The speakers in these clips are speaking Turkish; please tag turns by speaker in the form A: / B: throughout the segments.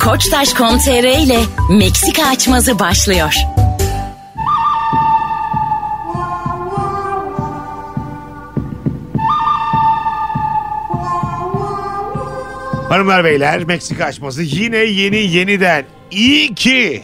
A: koçtaş.com.tr ile Meksika açmazı başlıyor.
B: Hanımlar beyler Meksika açması yine yeni yeniden. İyi ki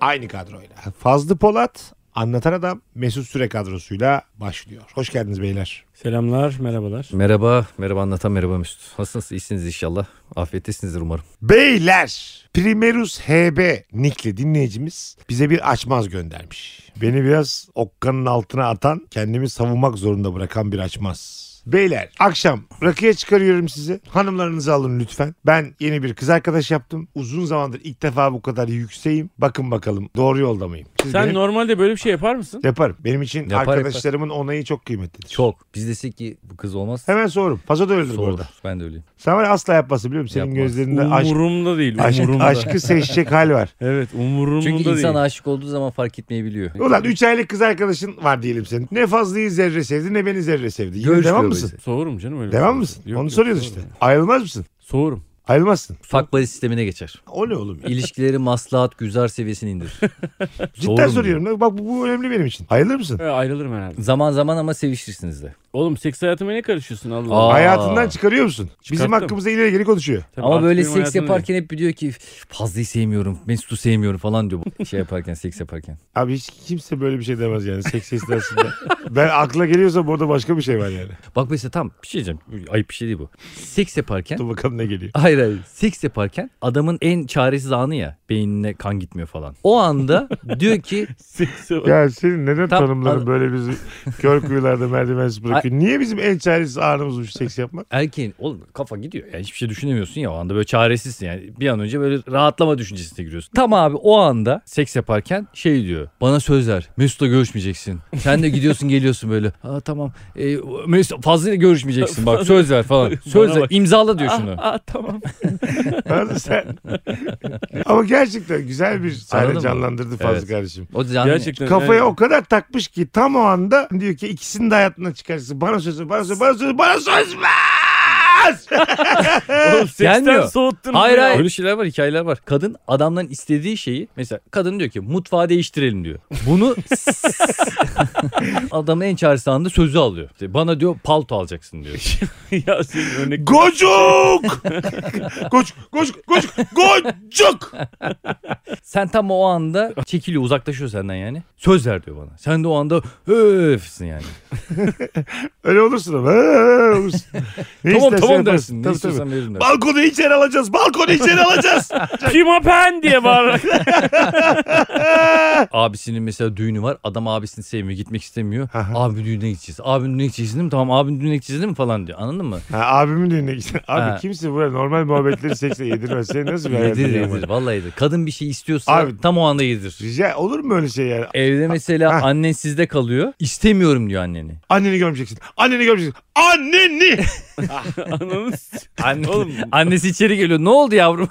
B: aynı kadroyla. Fazlı Polat anlatan adam Mesut Süre kadrosuyla başlıyor. Hoş geldiniz beyler.
C: Selamlar, merhabalar.
D: Merhaba, merhaba anlatan merhaba Mesut. Nasılsınız? İyisiniz inşallah. Afiyettesinizdir umarım.
B: Beyler Primerus HB nickli dinleyicimiz bize bir açmaz göndermiş. Beni biraz okkanın altına atan kendimi savunmak zorunda bırakan bir açmaz. Beyler akşam rakıya çıkarıyorum sizi. Hanımlarınızı alın lütfen. Ben yeni bir kız arkadaş yaptım. Uzun zamandır ilk defa bu kadar yükseğim. Bakın bakalım doğru yolda mıyım? Siz
C: Sen
B: benim-
C: normalde böyle bir şey yapar mısın?
B: Yaparım. Benim için
D: Yapar, yapar.
B: arkadaşlarımın onayı çok kıymetlidir.
D: Çok. Biz desek ki bu kız olmaz.
B: Hemen sorum. Paso da öyledir bu
D: Soğur.
B: arada.
D: Ben de öyleyim.
B: Sen var ya asla yapmasın biliyor musun? Senin
D: Yapmaz.
B: gözlerinde aşk,
C: Umurumda değil,
B: aşk,
C: umurumda.
B: aşkı seçecek hal var.
C: Evet, umurumda
D: Çünkü
C: değil.
D: insan aşık olduğu zaman fark etmeyebiliyor.
B: Ulan 3 aylık kız arkadaşın var diyelim senin. Ne Fazlı'yı zerre sevdi ne beni zerre sevdi. Yine
D: Görüş
B: devam
D: görmesi.
B: mısın?
C: Soğurum canım öyle. bir
B: Devam
C: şey.
B: mısın?
C: Yok,
B: Onu
C: yok,
B: soruyoruz işte.
C: soğurum.
B: Ayrılmaz mısın?
C: Soğurum.
B: Ayrılmazsın.
D: Fuck buddy sistemine geçer.
B: O ne oğlum ya?
D: İlişkileri maslahat güzar seviyesini indir.
B: Cidden soruyorum. lan. Bak bu, bu önemli benim için. Ayrılır mısın?
C: Ee, ayrılırım herhalde.
D: Zaman zaman ama sevişirsiniz de.
C: Oğlum seks hayatıma ne karışıyorsun Allah
D: Aa,
C: Allah?
B: Hayatından çıkarıyor musun? Bizim
C: Çıkarttım.
B: hakkımızda ileri geri konuşuyor.
C: Tabii
D: ama
C: artık
D: böyle
C: benim
D: seks
C: hayatımda
D: yaparken hep diyor ki fazlayı sevmiyorum, Mesut'u sevmiyorum falan diyor. bu Şey yaparken, seks yaparken.
B: Abi hiç kimse böyle bir şey demez yani seks esnasında. ben akla geliyorsa burada başka bir şey var yani.
D: Bak mesela tam bir şey diyeceğim. Ayıp bir şey değil bu. Seks yaparken
B: Dur bakalım ne geliyor.
D: Hayır hayır. Seks yaparken adamın en çaresiz anı ya. Beynine kan gitmiyor falan. O anda diyor ki
C: değil. Sekse bak.
B: Ya senin neden
D: Tam-
B: tanımların
D: al-
B: böyle bizi kör kuyularda merdivensiz bırakıyor? Niye bizim en çaresiz anımızmış seks yapmak?
D: erkeğin oğlum kafa gidiyor. Yani hiçbir şey düşünemiyorsun ya o anda böyle çaresizsin yani. Bir an önce böyle rahatlama düşüncesine giriyorsun. Tam abi o anda seks yaparken şey diyor. Bana söz ver. Mesut'la görüşmeyeceksin. Sen de gidiyorsun geliyorsun böyle. Aa tamam. E, Mesut fazlıyla görüşmeyeceksin bak söz ver falan. Söz
C: Bana
D: ver.
C: bak.
D: İmzala diyor şunu.
C: Aa, tamam.
B: Anladın sen? Ama gerçekten güzel bir
D: Anladın
B: sahne
D: mı?
B: canlandırdı Fazlı
D: Evet.
B: kardeşim.
D: O canlı.
C: Gerçekten.
B: Kafaya
C: yani-
B: o kadar takmış ki tam o anda diyor ki ikisini de hayatından çıkarsın. Bana söz ver, bana söz ver, bana söz ver, bana söz ver.
C: Oğlum, seksten
D: Gelmiyor.
C: soğuttun.
D: Hayır
C: ya.
D: hayır. Öyle şeyler var hikayeler var. Kadın adamdan istediği şeyi mesela kadın diyor ki mutfağı değiştirelim diyor. Bunu adamın en çaresiz anında sözü alıyor. İşte bana diyor palto alacaksın diyor.
C: ya senin örnek.
B: Gocuk! koç, koç, koç, gocuk!
D: Sen tam o anda çekiliyor uzaklaşıyor senden yani. Söz ver diyor bana. Sen de o anda öfsin yani.
B: Öyle olursun ama. ee, olursun. Ne
D: tamam
B: istersen
D: tamam
B: yaparsın. şey
D: dersin. Ne
B: Tabii, tabii.
D: istiyorsan veririm dersin.
B: Balkonu içeri alacağız. Balkonu içeri alacağız.
C: Pima pen diye bağırarak.
D: Abisinin mesela düğünü var. Adam abisini sevmiyor. Gitmek istemiyor.
B: Aha.
D: Abi düğüne gideceğiz. Abinin düğüne gideceğiz değil mi? Tamam abinin düğüne gideceğiz değil mi falan diyor. Anladın mı?
B: ha, abimin düğününe gitsin. Abi
D: Ha.
B: kimse buraya normal muhabbetleri seksle yedirmez. Sen nasıl bir hayatın
D: Yedir
B: var?
D: yedir. Vallahi yedir. Kadın bir şey istiyorsa
B: Abi-
D: tam o anda yedir.
B: Rica olur mu öyle şey yani?
D: Evde mesela
B: Ha.
D: annen sizde kalıyor. İstemiyorum diyor anneni.
B: Anneni görmeyeceksin. Anneni görmeyeceksin. Anneni!
C: Ananı s-
D: Anne,
C: Oğlum.
D: Annesi içeri geliyor. Ne oldu yavrum?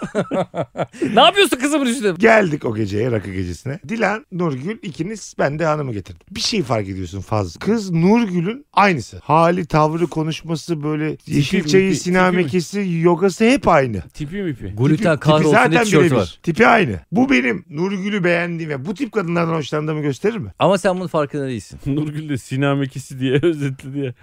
D: ne yapıyorsun kızımın üstüne?
B: Geldik o geceye rakı gecesine. Dilan, Nurgül ikiniz ben de hanımı getirdim. Bir şey fark ediyorsun fazla. Kız Nurgül'ün aynısı. Hali, tavrı, konuşması böyle yeşil
C: mi,
B: çayı,
C: tipi-
B: sinamekesi, yogası hep aynı.
C: Tipi mipi.
D: Gluten
B: tipi
D: kahrolsun
B: zaten
D: tişörtü
B: birebir.
D: var.
B: Tipi aynı. Bu benim Nurgül'ü beğendiğim ve bu tip kadınlardan hoşlandığımı gösterir mi?
D: Ama sen bunun farkında değilsin.
C: Nurgül de sinamekisi diye özetledi ya.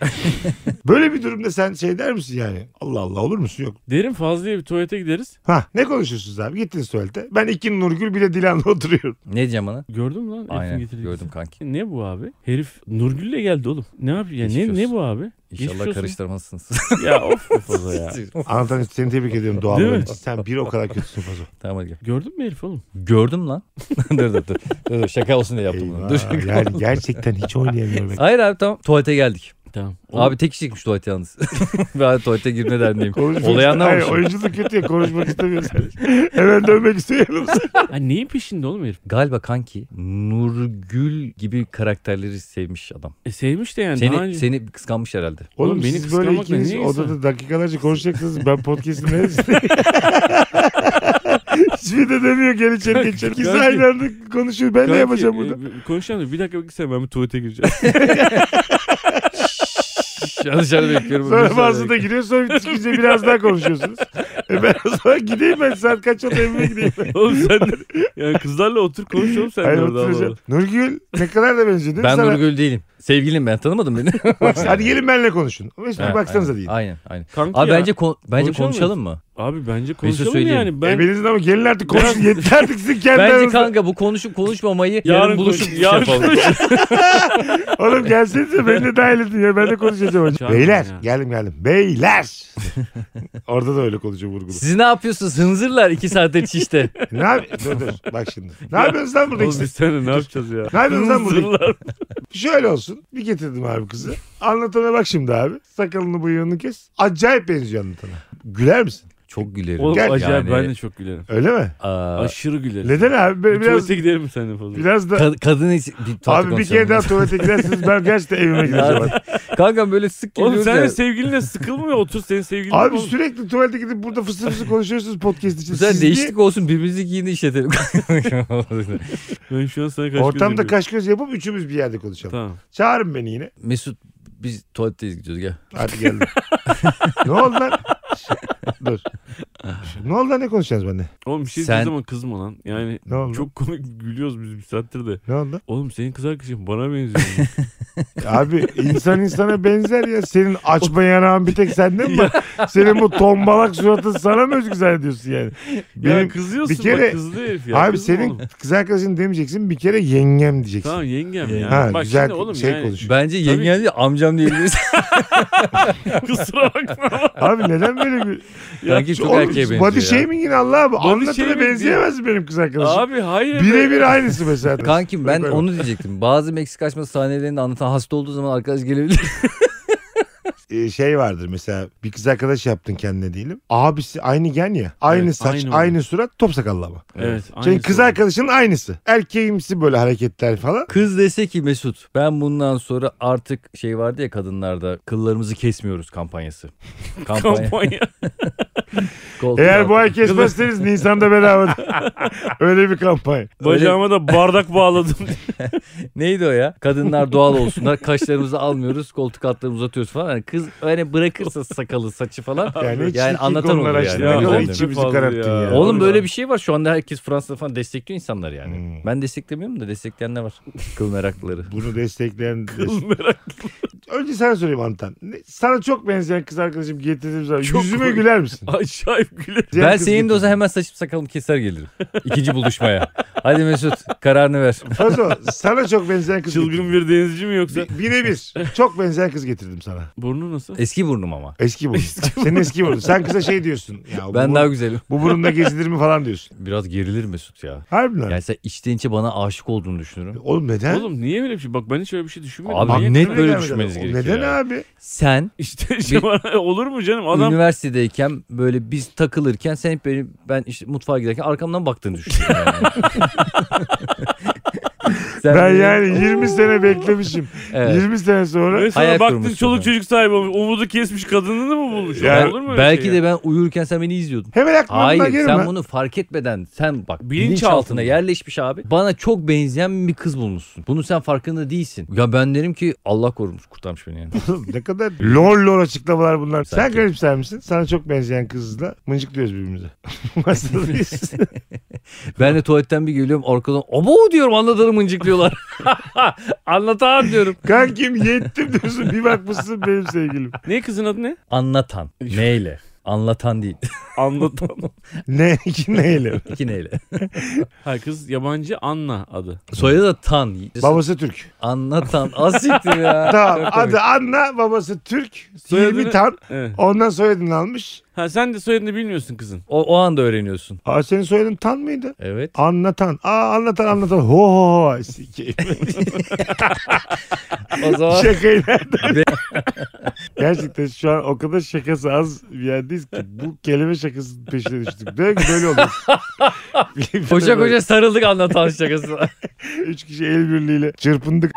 B: Böyle bir durumda sen şey der misin yani? Allah Allah olur musun? Yok.
C: Derin Fazlı'ya bir tuvalete gideriz.
B: Ha ne konuşuyorsunuz abi? Gittiniz tuvalete. Ben iki Nurgül bir de Dilan'la oturuyorum.
D: Ne diyeceğim bana?
C: Gördün mü lan? hepsini
D: Aynen
C: getirdik.
D: gördüm kanki.
C: Ne bu abi? Herif Nurgül'le geldi oğlum. Ne yapıyor?
D: Geçmiş
C: Ne, ne
D: olsun.
C: bu abi? Geçmiş
D: İnşallah
C: olsun.
D: karıştırmazsınız.
C: Ya of be Fazo ya.
B: Anlatan seni tebrik ediyorum
C: Değil
B: doğallığın
C: mi?
B: için. Sen bir o kadar kötüsün Fazo.
D: tamam hadi gel.
C: Gördün mü herif oğlum?
D: Gördüm lan. dur dur dur. Dur, dur. Şaka olsun diye yaptım bunu. Dur.
B: Eyvah, yani gerçekten hiç oynayamıyorum.
D: Hayır abi tamam tuvalete geldik.
C: Tamam.
D: Abi tek kişilikmiş tuvalete yalnız. ben tuvalete girme derdindeyim.
B: Konuşmak
D: Olayı
B: ist- Hayır,
D: anlamamışım.
B: oyunculuk kötü ya konuşmak istemiyorsun. Hemen dönmek istiyorum.
C: Ha, neyin peşinde oğlum herif?
D: Galiba kanki Nurgül gibi karakterleri sevmiş adam.
C: E, sevmiş de yani. daha
D: Seni
C: önce-
D: seni kıskanmış herhalde.
B: Oğlum,
C: Oğlum beni
B: siz böyle
C: kıskanmakla
B: ikiniz
C: niye insan-
B: odada dakikalarca konuşacaksınız. Ben podcast'in neresinde? Hiçbir de demiyor gel içeri geç. İkisi
C: Kanki-
B: aynı anda konuşuyor. Ben ne
C: Kanki,
B: yapacağım
C: e,
B: burada?
C: bir- Konuşalım. da Bir dakika bekle sen ben bir tuvalete gireceğim.
D: Şu an dışarıda bekliyorum.
B: Sonra
D: Dışarıda
B: bazı da
D: bekliyorum.
B: giriyor sonra bitirince biraz daha konuşuyorsunuz. E ben o zaman gideyim ben saat kaç oldu evime gideyim.
C: Oğlum sen de- yani kızlarla otur konuş oğlum sen
B: Hayır,
C: de orada.
B: oturacağım.
C: ama.
B: Nurgül ne kadar da benziyor değil mi
D: Ben
B: sana?
D: Nurgül değilim. Sevgilim ben tanımadım beni.
B: Bak, hadi gelin benimle konuşun. Ama hiç bir
D: Ha,
B: baksanıza
D: aynen,
B: deyin.
D: Aynen aynen.
C: Kanka
D: Abi
C: ya.
D: bence şey kon- bence
C: Konuşalım
D: konuşalım mı?
C: Abi bence konuşalım
D: söyleyeyim.
C: yani. Ben
B: Ben... Evinizin ama gelin artık konuşun. Yeter artık sizin kendi
D: Bence
B: aranızda.
D: kanka bu konuşup konuşmamayı yarın,
C: Yarın
D: buluşup
C: konuş- yarın
D: yapalım.
B: Oğlum gelsenize beni de dahil edin ya. Ben de konuşacağım. hocam.
C: Çağırın
B: Beyler
C: ya.
B: geldim geldim. Beyler. Orada da öyle konuşuyor vurgulu.
D: Siz ne yapıyorsunuz? Hınzırlar iki saattir çişte.
B: ne yapıyorsun? Dur dur bak şimdi. Ne yapıyorsunuz lan burada
C: Oğlum
B: ikisi?
C: biz seninle ne yapacağız ya?
B: Ne yapıyorsunuz lan burada?
C: Hızırlar.
B: Şöyle olsun. Bir getirdim abi kızı. Anlatana bak şimdi abi. Sakalını bıyığını kes. Acayip benziyor anlatana. Güler misin?
D: Çok gülerim.
C: Oğlum
B: Gel.
C: acayip
D: Yani-
C: ben de çok gülerim.
B: Öyle mi?
D: Aa,
C: Aşırı gülerim.
B: Neden abi? Böyle
C: Bir
B: biraz,
C: tuvalete gidelim mi seninle fazla?
B: biraz da...
D: kad- kadın is- bir tuvalete
B: Abi bir
D: konuşalım
B: kere daha
D: biraz.
B: tuvalete gidersiniz ben gerçekten evime gideceğim.
D: Kanka böyle sık geliyoruz
C: Oğlum sen
D: ya.
C: de sevgilinle sıkılmıyor otur senin sevgilin.
B: Abi
C: oğlum.
B: sürekli tuvalete gidip burada fısır fısır konuşuyorsunuz podcast için.
D: Bu sefer
B: Siz
D: değişiklik olsun birbirimizi giyini işletelim.
C: Ben şu an sana kaç
B: niye-
C: göz
B: Ortamda
C: yapıyorum.
B: kaş göz yapıp üçümüz bir yerde konuşalım.
C: Tamam.
B: Çağırın beni yine.
D: Mesut biz tuvaletteyiz gidiyoruz gel.
B: Hadi geldim. ne oldu lan? Dur. Ne oldu lan ne konuşacağız benimle?
C: Oğlum bir şey
D: Sen-
C: Sen... zaman kızma lan. Yani
B: Ne oldu?
C: çok komik gülüyoruz biz bir saattir de.
B: Ne oldu?
C: Oğlum senin kız arkadaşın bana benziyor.
B: Abi insan insana benzer ya. Senin açma yanağın bir tek sende mi? var? Senin bu tombalak suratın sana mı özgü zannediyorsun yani?
C: Benim,
B: Benim-
C: kızıyorsun
B: bir kere-
C: bak kızdı herif ya.
B: Abi
C: kızma
B: senin
C: oğlum.
B: kız arkadaşın demeyeceksin bir kere yengem diyeceksin.
C: Tamam yengem ya.
B: Ha,
C: bak
B: güzel
C: şimdi oğlum
B: şey
C: yani.
B: konuş.
D: Bence yengen değil amcam diyebiliriz.
C: Kusura bakma.
B: Abi neden böyle bir...
D: Kanki çok
B: Oğlum,
D: erkeğe benziyor
B: Body
D: ya.
B: shaming yine Allah abi.
C: Body
B: Anlatana
C: shaming
B: benzeyemez benim kız arkadaşım.
C: Abi hayır. be.
B: Birebir aynısı mesela.
D: Kankim ben
B: Böyle.
D: onu diyecektim. Bazı Meksika açma sahnelerinde anlatan hasta olduğu zaman arkadaş gelebilir.
B: Ee, şey vardır mesela bir kız arkadaş yaptın kendine diyelim. Abisi aynı gen ya. Aynı
C: Evet,
B: saç,
C: aynı
B: aynı,
C: oldu.
B: surat, top sakallı ama.
C: Evet.
B: Senin
C: aynısı
B: kız
C: oldu.
B: arkadaşının aynısı. Erkeğimsi böyle hareketler falan.
D: Kız dese ki Mesut ben bundan sonra artık şey vardı ya kadınlarda kıllarımızı kesmiyoruz kampanyası. Kampanya.
C: Kampanya.
D: Koltuk
B: Eğer
D: altı.
B: bu ay kesmezseniz Nisan'da bedava. Öyle bir kampanya.
C: Bacağıma da bardak bağladım.
D: Neydi o ya? Kadınlar doğal olsunlar. Kaşlarımızı almıyoruz. Koltuk altlarını uzatıyoruz falan. Yani kız hani bırakırsa sakalı saçı falan.
B: Yani, hiç
D: Yani
B: ilk
D: anlatan
B: konular
D: olur yani.
B: açtın.
D: Ne
B: Ne kadar
D: güzel.
B: içimizi
C: Fazla
B: kararttın
C: ya.
B: ya.
C: Oğlum
D: Oğlum böyle bir şey var. Şu anda herkes Fransa'da falan destekliyor insanlar yani.
B: Hmm.
D: Ben desteklemiyorum da destekleyenler var. Kıl meraklıları.
B: Bunu destekleyen...
C: Merak-
B: Önce sana sorayım Antan. Ne- Sana çok benzeyen kız arkadaşım getirdiğim zaman
C: Çok
B: yüzüme
C: komik.
B: güler misin?
C: Acayip gülerim.
D: ben
B: kız
D: senin de o
B: getirdim.
D: zaman hemen saçım sakalımı keser gelirim. İkinci buluşmaya. Hadi Mesut kararını ver.
B: Fazo sana çok benzeyen kız getirdim.
C: Çılgın bir denizci mi yoksa?
B: Bi- Bire bir. Çok benzeyen kız getirdim sana.
C: Burnu nasıl?
D: Eski burnum ama.
B: Eski burun. Senin eski burun. Sen kıza şey diyorsun. Ya
D: Ben
B: bu,
D: daha güzelim.
B: bu burunla gezilir mi falan diyorsun.
D: Biraz gerilir Mesut ya.
B: Harbiden.
D: Yani sen içten içe bana aşık olduğunu düşünürüm.
B: Oğlum neden?
C: Oğlum niye böyle bir şey? Bak ben hiç öyle bir şey düşünmedim.
D: Abi
C: Niye-
D: net
B: Neden
D: böyle
B: gelmedi?
D: düşünmeniz
B: Oğlum
D: gerekiyor
B: Neden
D: ya.
B: abi?
D: Sen
C: İşte şey var- olur mu canım? Adam
D: üniversitedeyken böyle biz takılırken sen hep benim ben işte mutfağa giderken arkamdan baktığını düşünüyorum. Yani. Sen
B: Ben
D: benim-
B: yani 20 sene beklemişim.
D: Evet.
B: 20 sene sonra
C: Ve sonra
D: Hayal
C: baktın
D: kurmuş
C: çoluk
D: adam.
C: çocuk sahibi olmuş. Umudu kesmiş kadınını mı bulmuş?
B: Yani
C: olur mu öyle
D: Belki
C: şey
D: de
C: ya?
D: ben uyurken sen beni izliyordun.
B: hemen aklımdan
D: Hayır
B: gelme.
D: sen bunu fark etmeden sen bak
C: Bilinç
D: bilinçaltına
C: altında.
D: yerleşmiş abi. Bana çok benzeyen bir kız bulmuşsun. Bunu sen farkında değilsin. Ya ben derim ki Allah korumuş kurtarmış beni yani.
B: Oğlum ne kadar lol lol açıklamalar bunlar. Sen
D: Sanki.
B: garipser misin? Sana çok benzeyen kızla mıncıklıyoruz birbirimize. Masadayız.
D: Ben de tuvaletten bir geliyorum arkadan abo diyorum anlatanı mıncıklıyorlar. Anlatan diyorum.
B: Kankim yettim diyorsun. Bir bakmışsın benim sevgilim.
C: Ne kızın adı ne?
D: Anlatan. Neyle? Anlatan değil.
C: Anlatan.
B: Ne? Neyle?
D: İki neyle.
C: Hayır kız yabancı Anna adı.
D: Soyadı da tan.
B: Babası Türk.
D: Anlatan. Asiktir ya.
B: Tamam.
D: Çok komik.
B: Adı Anna, babası Türk.
C: Soyadını-
B: 20 tan.
C: Evet.
B: Ondan soyadını almış.
C: Ha sen de soyadını bilmiyorsun kızın.
D: O, o anda öğreniyorsun.
B: Aa senin soyadın tan mıydı?
D: Evet.
B: Anlatan. Aa anlatan anlatan. Ho ho ho. Sikeyim.
D: O zaman
B: Şakayı nereden- Gerçekten şu an o kadar şakası az bir yerdeyiz ki bu kelime şakasının peşine düştük. Böyle böyle oluyor.
D: koşa koşa sarıldık anlatan şakasına.
B: Üç kişi el birliğiyle çırpındık.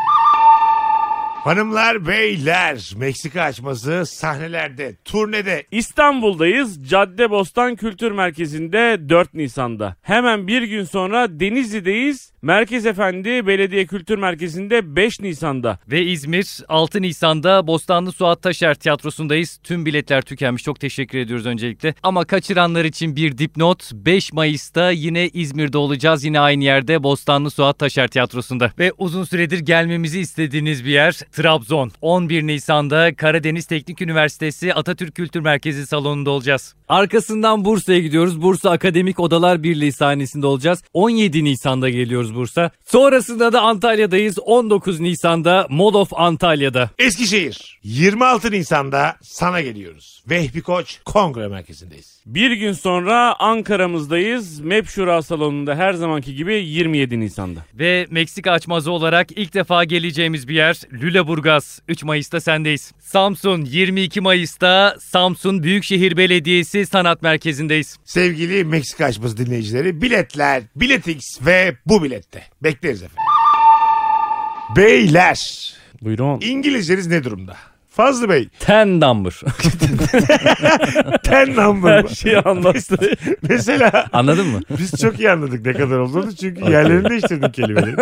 E: Hanımlar beyler Meksika açması sahnelerde turnede
C: İstanbul'dayız. Caddebostan Kültür Merkezi'nde 4 Nisan'da. Hemen bir gün sonra Denizli'deyiz. Merkez Efendi Belediye Kültür Merkezi'nde 5 Nisan'da.
D: Ve İzmir 6 Nisan'da Bostanlı Suat Taşer Tiyatrosu'ndayız. Tüm biletler tükenmiş. Çok teşekkür ediyoruz öncelikle. Ama kaçıranlar için bir dipnot. 5 Mayıs'ta yine İzmir'de olacağız. Yine aynı yerde Bostanlı Suat Taşer Tiyatrosu'nda. Ve uzun süredir gelmemizi istediğiniz bir yer Trabzon. 11 Nisan'da Karadeniz Teknik Üniversitesi Atatürk Kültür Merkezi salonunda olacağız. Arkasından Bursa'ya gidiyoruz. Bursa Akademik Odalar Birliği sahnesinde olacağız. 17 Nisan'da geliyoruz Bursa. Sonrasında da Antalya'dayız. 19 Nisan'da Mall of Antalya'da.
E: Eskişehir 26 Nisan'da sana geliyoruz. Vehbi Koç Kongre Merkezi'ndeyiz.
C: Bir gün sonra Ankara'mızdayız. MEP Şura Salonu'nda her zamanki gibi 27 Nisan'da.
D: Ve Meksika açmazı olarak ilk defa geleceğimiz bir yer Lüleburgaz. 3 Mayıs'ta sendeyiz. Samsun 22 Mayıs'ta Samsun Büyükşehir Belediyesi Sanat Merkezi'ndeyiz.
E: Sevgili Meksika açması dinleyicileri biletler, biletix ve bu bilette. Bekleriz efendim. Beyler
C: Buyurun.
E: İngilizceniz ne durumda? Fazlı Bey
D: Ten number.
E: ten number
C: Her şey.
E: mı?
C: şeyi anlattı.
E: Mesela
D: Anladın mı?
E: biz çok iyi anladık ne kadar olduğunu çünkü yerlerini değiştirdik kelimeleri.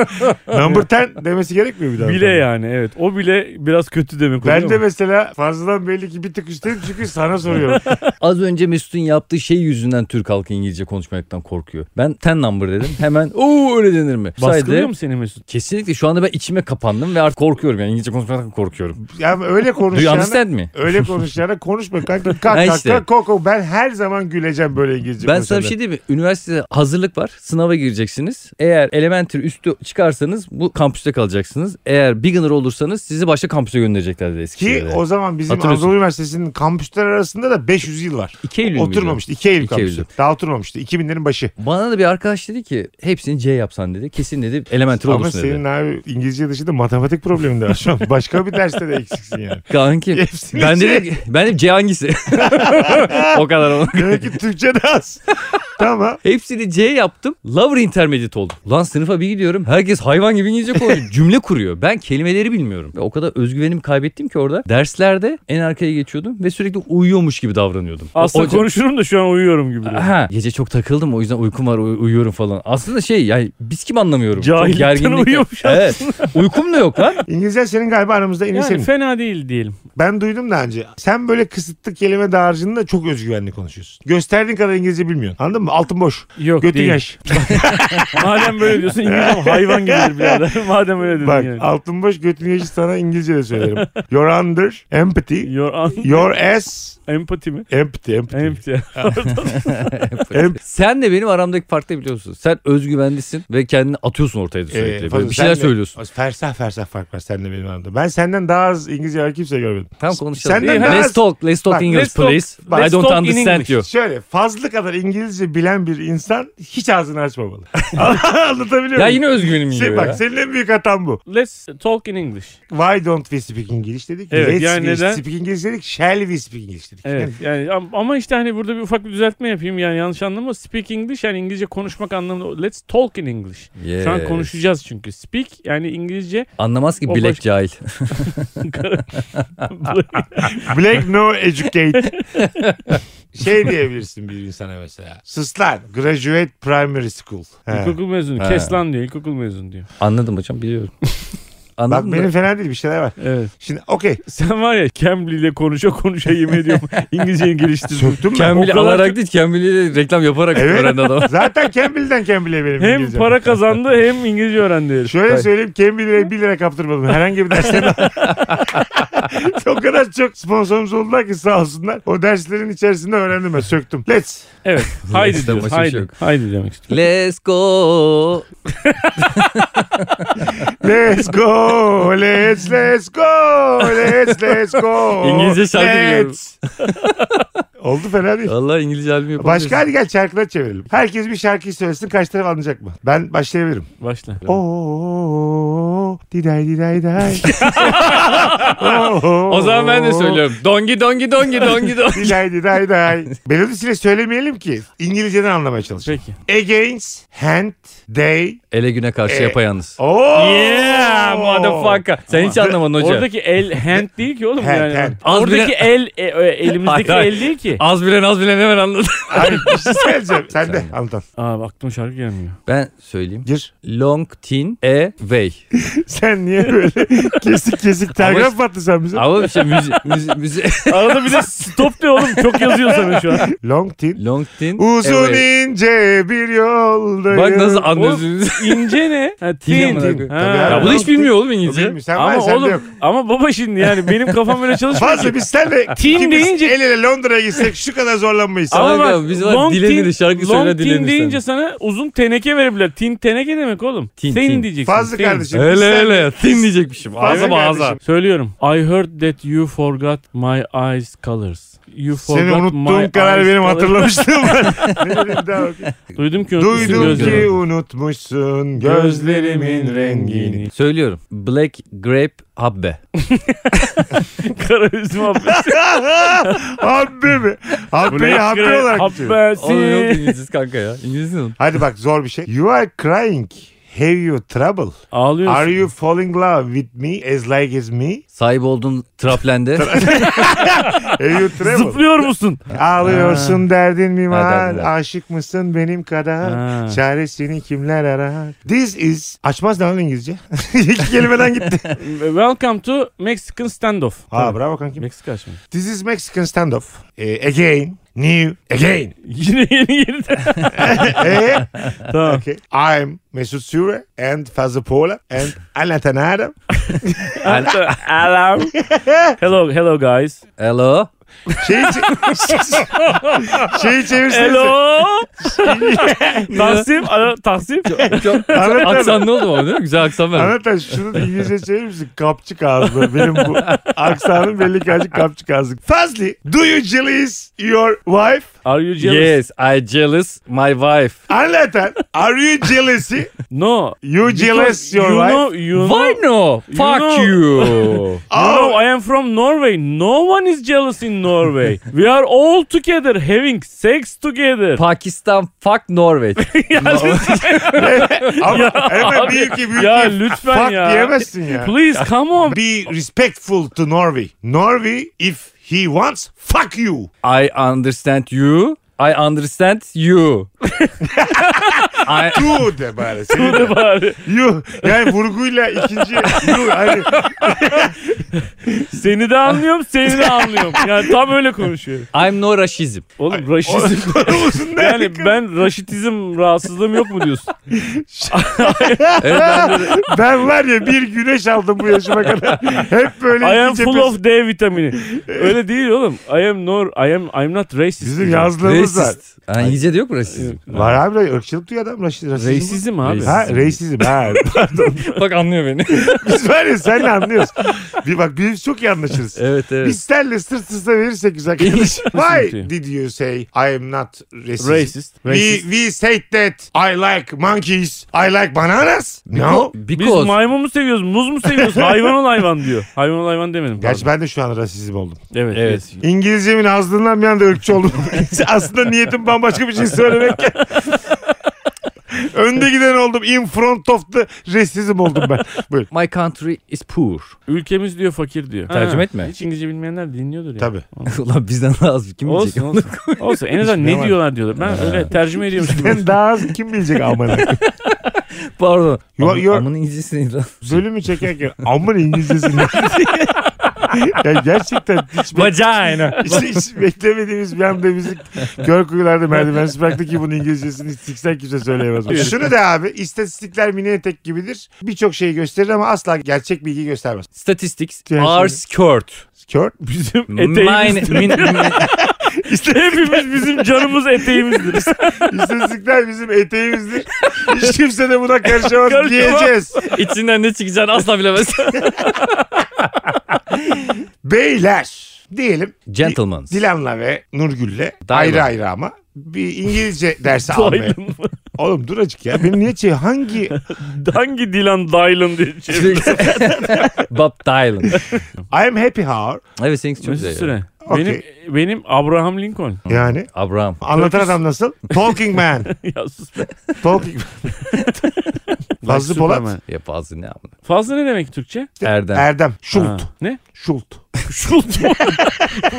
E: Number ten demesi gerekmiyor bir daha.
C: bile yani evet. O bile biraz kötü demek oluyor
E: Ben de
C: ama.
E: mesela fazladan belli ki bir tık üsteyim çünkü sana soruyorum.
D: Az önce Mesut'un yaptığı şey yüzünden Türk halkı İngilizce konuşmaktan korkuyor. Ben ten number dedim. Hemen ooo öyle denir mi?
C: Baskılıyor
D: Saydı.
C: mu seni Mesut?
D: Kesinlikle şu anda ben içime kapandım ve artık korkuyorum yani İngilizce konuşmaktan korkuyorum.
E: Yani öyle
D: Do you
E: konuşacağına,
D: understand me?
E: öyle konuşacağına konuşma kanka. Kalk kalk
D: Ha
E: kalk
D: işte.
E: kalk, kalk. Ben her zaman güleceğim böyle İngilizce
D: Ben sana bir şey diyeyim mi? Üniversitede hazırlık var. Sınava gireceksiniz. Eğer elementary üstü çıkarsanız bu kampüste kalacaksınız. Eğer beginner olursanız sizi başka kampüse gönderecekler dedi
E: Ki
D: Eskişehir'de.
E: o zaman bizim
D: Hatırlıyorsun.
E: Anadolu Üniversitesi'nin kampüsler arasında da 500 yıl var.
D: 2 Eylül müydü?
E: Oturmamıştı. 2 Eylül
D: 2
E: kampüsü.
D: Eylül.
E: Daha oturmamıştı. 2000'lerin başı.
D: Bana da bir arkadaş dedi ki hepsini C yapsan dedi. Kesin dedi elementary
E: Ama
D: olursun
E: senin
D: dedi.
E: abi İngilizce dışında matematik problemin de var şu an. Başka bir derste de eksiksin yani.
D: Kanki
E: Hepsini
D: ben
E: C.
D: dedim, ki- ben dedim C hangisi? o kadar ona.
E: Demek ki Türkçe de az. tamam.
D: Hepsini C yaptım. Lover intermediate oldum. Lan sınıfa bir gidiyorum. Herkes hayvan gibi İngilizce konuşuyor. Cümle kuruyor. Ben kelimeleri bilmiyorum. Ve o kadar özgüvenimi kaybettim ki orada. Derslerde en arkaya geçiyordum ve sürekli uyuyormuş gibi davranıyordum. O-
C: Aslında
D: hoca-
C: konuşurum da şu an uyuyorum gibi. duruyor.
D: Ha, gece çok takıldım o yüzden uykum var uy- uyuyorum falan. Aslında şey yani biz kim anlamıyorum. Çok
C: Cahillikten
D: gerginlik-
C: uyuyormuş
D: Evet. Uykum da yok lan.
E: İngilizce senin galiba aramızda en iyi
C: Yani
E: senin.
C: fena değil diyelim.
E: Ben duydum daha önce. Sen böyle kısıtlı kelime dağarcığında çok özgüvenli konuşuyorsun. Gösterdiğin kadar İngilizce bilmiyorsun. Anladın mı? Altın boş.
C: Yok
E: Götün
C: değil.
E: yaş.
C: Madem böyle diyorsun İngilizcem hayvan gibidir birader. Madem öyle dedin
E: Bak
C: yani.
E: altın boş götün yaşı sana İngilizce de söylerim. Your under, empathy.
C: Your un-
E: Your ass,
C: empati mi?
E: empty, empty.
C: Empty.
E: Em-
D: Sen de benim aramdaki farkı da biliyorsun. Sen özgüvenlisin ve kendini atıyorsun ortaya da
E: Ee,
D: sürekli. Böyle
E: fazla
D: bir şeyler
E: senle-
D: söylüyorsun.
E: Fersah fersah fark var seninle benim aramda. Ben senden daha az İngilizce var kimse görmedim.
D: Tamam konuşalım.
E: Senden
D: let's
E: daha az-
D: talk, let's talk
E: Bak,
D: English
C: let's talk-
D: please.
C: let's
D: I don't
C: talk in
D: understand
C: English.
D: you.
E: Şöyle fazla kadar İngilizce bilen bir insan hiç ağzını açmamalı. Anlatabiliyor muyum?
D: Ya yine özgüvenim
E: Se-
D: yiyor ya.
E: Şey, bak senin en büyük hatan bu.
C: Let's talk in English.
E: Why don't we speak English dedik.
C: Evet,
E: Let's
C: yani
E: we
C: neden?
E: speak English dedik. Shall we speak English dedik.
C: Evet yani am- ama işte hani burada bir ufak bir düzeltme yapayım yani yanlış anlama. Speak English yani İngilizce konuşmak anlamında. Let's talk in English. Şu an
D: Yes.
C: konuşacağız çünkü. Speak yani İngilizce.
D: Anlamaz ki
C: O
D: bilek
C: baş-
D: cahil.
E: Black no educate. şey diyebilirsin bir insana mesela. Sıslan. Graduate primary school. He.
C: İlkokul mezunu.
D: Ha.
C: Kes lan diyor. İlkokul mezunu diyor.
D: Anladım hocam biliyorum.
E: Bak
D: Anladım da-
E: benim fena değil bir şeyler var.
C: Evet.
E: Şimdi okey.
C: Sen var ya Cambly ile konuşa konuşa yemin ediyorum İngilizceyi geliştirdin.
E: Söktün mü?
D: Kembili
C: O kadar
D: alarak değil Kembili'yi reklam yaparak
E: Evet.
D: öğrendi adam.
E: Zaten Campbell'den Campbell'e benim
C: Hem
E: İngilizcem.
C: para kazandı hem İngilizce öğrendi. herif.
E: Şöyle söyleyeyim Campbell'e 1 lira kaptırmadım. Herhangi bir dersten o kadar çok sponsorumuz oldular ki sağ olsunlar. O derslerin içerisinde öğrendim ben söktüm. Let's.
C: Evet. Haydi
D: İstemesi
C: diyor.
D: bir şey
C: Haydi.
D: yok.
C: Haydi demek istiyor.
D: Let's go.
E: Let's go. Let's let's go. Let's let's go.
D: İngilizce şarkı biliyorum.
E: Let's. Oldu fena değil.
D: Allah İngilizce albüm yapabiliriz.
E: Başka hadi gel şarkılar çevirelim. Oh,
C: Oh.
E: Herkes bir şarkıyı söylesin kaç taraf anlayacak mı? Ben başlayabilirim.
C: Başla.
E: Oo. o diday diday day. Oo.
D: O zaman ben de söylüyorum. Dongi dongi dongi dongi dongi.
E: Diday diday day. Melodisiyle söylemeyelim ki. İngilizceden anlamaya çalışalım.
C: Peki.
E: Against hand they.
D: Ele güne karşı
E: E.
D: yapayalnız.
E: Oo.
C: Oh.
D: Yeah motherfucker. Sen hiç anlamadın hoca.
C: Oradaki el hand değil ki oğlum
E: Hand,
C: yani.
E: hand.
D: Az
C: Oradaki
D: bile-
C: el e, e, elimizdeki
D: Hayır, hayır.
C: el değil ki.
D: Az bilen az bilen hemen anladı.
E: Hayır bir şey söyleyeceğim. Sen de anlatan.
C: Aa aklıma şarkı gelmiyor.
D: Ben söyleyeyim.
E: Gir.
D: Long tin e way.
E: Sen niye böyle kesik kesik telgraf mı attın sen bize?
D: Ama bir şey müzi... müzi, müzi
C: Arada bir de stop de oğlum çok yazıyor sana şu an.
E: Long tin.
D: Long tin
E: Uzun
D: e way.
E: ince bir yoldayım.
D: Bak nasıl anlıyorsunuz.
C: İnce ne? Ha,
D: Tin.
C: tin. Ha.
E: Tabii abi.
D: ya bunu hiç bilmiyor oğlum
E: Yok,
D: İngilizce.
E: bilmiyorum. Sen var
C: Ama
E: ya, sende
C: oğlum
E: yok.
C: ama baba şimdi yani benim kafam öyle çalışmıyor.
E: Fazla biz senle
C: Team
E: ikimiz
C: deyince-
E: el ele Londra'ya gitsek şu kadar zorlanmayız.
D: Ama- Salak abi, biz var, dilenir, şarkı
C: long
D: söyle, dilenir
C: tin
D: sen.
C: deyince sana uzun teneke verebilirler. Tin teneke demek oğlum.
D: Tin,
C: Senin
D: tin.
C: diyeceksin.
E: Fazla
C: Tin.
E: kardeşim. biz
D: Öyle
E: sen-
D: öyle. Tin diyecekmişim. Ağza
E: Fazla
D: bağza.
E: kardeşim.
C: Söylüyorum. I heard that you forgot my eyes colors. You forgot my
E: Seni unuttuğum kadar
C: eyes
E: benim
C: colours.
E: hatırlamıştım. Ne dedim daha bakayım.
C: Duydum ki unutmuşsun
E: Duydum
C: gözlerini.
E: ki unutmuşsun gözlerimin rengini.
D: Söylüyorum. Black grape habbe.
C: Kara üzüm abi.
E: Habbe mi? Habbeyi habbe olarak geçiyor.
D: Oğlum yok
C: Habbesi.
D: İngilizcesi kanka ya. İngilizce ne?
E: Hadi bak zor bir şey. You are crying. Have you trouble?
C: Ağlıyorsun.
E: Are you falling in love with me as like as me?
D: Sahip olduğun traplende.
E: Have you trouble?
C: Zıplıyor musun?
E: Ağlıyorsun derdin mi
D: Ha,
E: var?
D: derdin var.
E: Aşık mısın benim kadar?
C: Ha.
E: Çaresini kimler arar? This is... Açmaz ne lan İngilizce? İki kelimeden gitti.
C: Welcome to Mexican standoff.
E: Ha bravo kankim.
C: Meksika açma.
E: This is Mexican standoff. Eh, again. New. Again.
C: Yine yeni yeni.
E: Eh,
C: tamam.
E: okay. I'm Mesut Süre and Fazlı Pola and Anlatan Adam.
C: Hello. Hello, hello guys.
D: Hello.
E: Şeyi, çe- şeyi çevirsenize.
C: Hello. Taksim, alo, Taksim.
D: Çok,
E: Anlatan-
D: aksan ne oldu ama değil mi? Güzel aksan ver.
E: Anlatan şunu da İngilizce çevirir misin? Kapçık ağızlı. Benim bu aksanım belli ki azıcık kapçık ağızlı. Fazlı, do you jealous your wife?
C: Are you jealous?
D: Yes, I jealous my wife.
E: Anlatan, are you jealous?
C: No.
E: You jealous
C: Because
E: your
C: you
E: wife?
C: Know, you
D: Why
C: know,
D: no? Fuck
C: know- you
D: you.
C: know
E: Oh,
C: I am from Norway. No one is jealous in Norway. We are all together having sex together.
D: Pakistan fuck Norveç.
E: ama hemen büyük ki büyük
C: ya
E: ki
C: lütfen
E: fuck
C: ya.
E: diyemezsin ya.
C: Please come on.
E: Be respectful to Norway. Norway, if he wants, fuck you.
D: I understand you. I understand you. I,
E: You de bari. Senin de.
C: Bari.
E: You. Yani vurguyla ikinci you. Hani
C: Seni de anlıyorum, seni de anlıyorum. Yani tam öyle konuşuyor.
D: I'm no raşizm.
C: Oğlum raşizm.
E: konumuzun ne?
C: Yani ben raşitizm rahatsızlığım yok mu diyorsun?
D: Evet, ben de-
E: Ben var ya bir güneş aldım bu yaşıma kadar. Hep
C: I
E: böyle
C: am
E: ikinci
C: full
E: pes-
C: of D vitamini. Öyle değil oğlum. I am nor, I am I'm not racist.
E: Bizim yazlığımız var.
D: racist. Ha, İngilizce'de yok mu rasizm?
E: Var abi de ırkçılık diyor adam. Raşi, rasizm.
C: Racism abi.
D: Racist.
E: Ha reisizim ha.
D: Bak anlıyor beni.
E: Biz var ya senle anlıyoruz. Bir bak biz çok iyi anlaşırız.
D: evet evet.
E: Biz senle sırt sırta verirsek güzel arkadaş. Why did you say I am not racist?
C: Racist.
E: We,
C: Racist.
E: we said that I like monkeys, I like bananas. No.
C: Biz
D: Because
C: maymun mu seviyoruz, muz mu seviyoruz? hayvan ol hayvan diyor. Hayvan ol hayvan demedim.
E: Gerçi
C: Pardon.
E: ben de şu an rasizm oldum.
C: Evet.
D: Evet.
E: İngilizcemin ağzından bir anda ırkçı oldum. Aslında niyetim bambaşka bir şey söylemek. Önde giden oldum. In front of the racism oldum ben. Buyur.
D: my country is poor.
C: Ülkemiz diyor fakir diyor.
D: Tercüme
C: Ha,
D: etme.
C: Hiç İngilizce bilmiyorlar dinliyordur ya.
E: Tabii.
D: Ulan bizden daha az kim
C: Olsun
D: bilecek?
C: olsun. olsun. En azından
E: Hiçbir
C: ne
E: şey
C: diyorlar diyorlar. Ben öyle tercüme ediyormuş gibi.
E: Ben daha az kim bilecek amına.
D: Pardon.
E: Yo-
D: Amın-
E: yo-
D: Amın İngilizcesi neydi lan?
E: Bölümü çekerken amın İngilizcesi ne? ya gerçekten hiç, be-
D: Vagina.
E: hiç, hiç beklemediğimiz bir anda bizi kör kuyularda merdivensiz bıraktı ki bunun İngilizcesini hiç siksen kimse söyleyemez. Şunu da abi istatistikler mini etek gibidir. Birçok şeyi gösterir ama asla gerçek bilgi göstermez.
D: Statistics
E: Gerçi-
D: are skirt.
E: Kör.
C: Bizim
D: Mine,
C: eteğimiz.
D: min, min-
C: Hepimiz bizim canımız eteğimizdir.
E: İstatistikler bizim eteğimizdir. Hiç kimse de buna karışamaz.
C: Karışamaz.
E: Diyeceğiz.
D: içinden ne çıkacağını asla bilemezsin.
E: Beyler diyelim.
D: Gentlemen.
E: Dilan'la ve Nurgül'le
D: Dilan.
E: ayrı ayrı ama bir İngilizce dersi almaya.
C: Doydum.
E: Oğlum dur acık ya. Beni niye çevir? Hangi?
C: Hangi Dylan Dylan diye çeviriyor?
D: Bob Dylan.
E: I am happy hour.
D: Evet seninkisi çok
C: Mesut
D: güzel. ya.
C: Süre. Benim, benim Abraham Lincoln.
E: Yani.
D: Abraham.
E: Anlatan adam nasıl? Talking man.
C: ya sus be.
E: Talking man. Fazlı
C: Bak,
E: Polat.
C: Superman.
D: Ya fazla ne amına.
C: Fazla ne demek Türkçe?
D: Erdem.
E: Erdem.
C: Ha,
E: Şult.
C: Ne?
E: Şult.
C: Schult mu?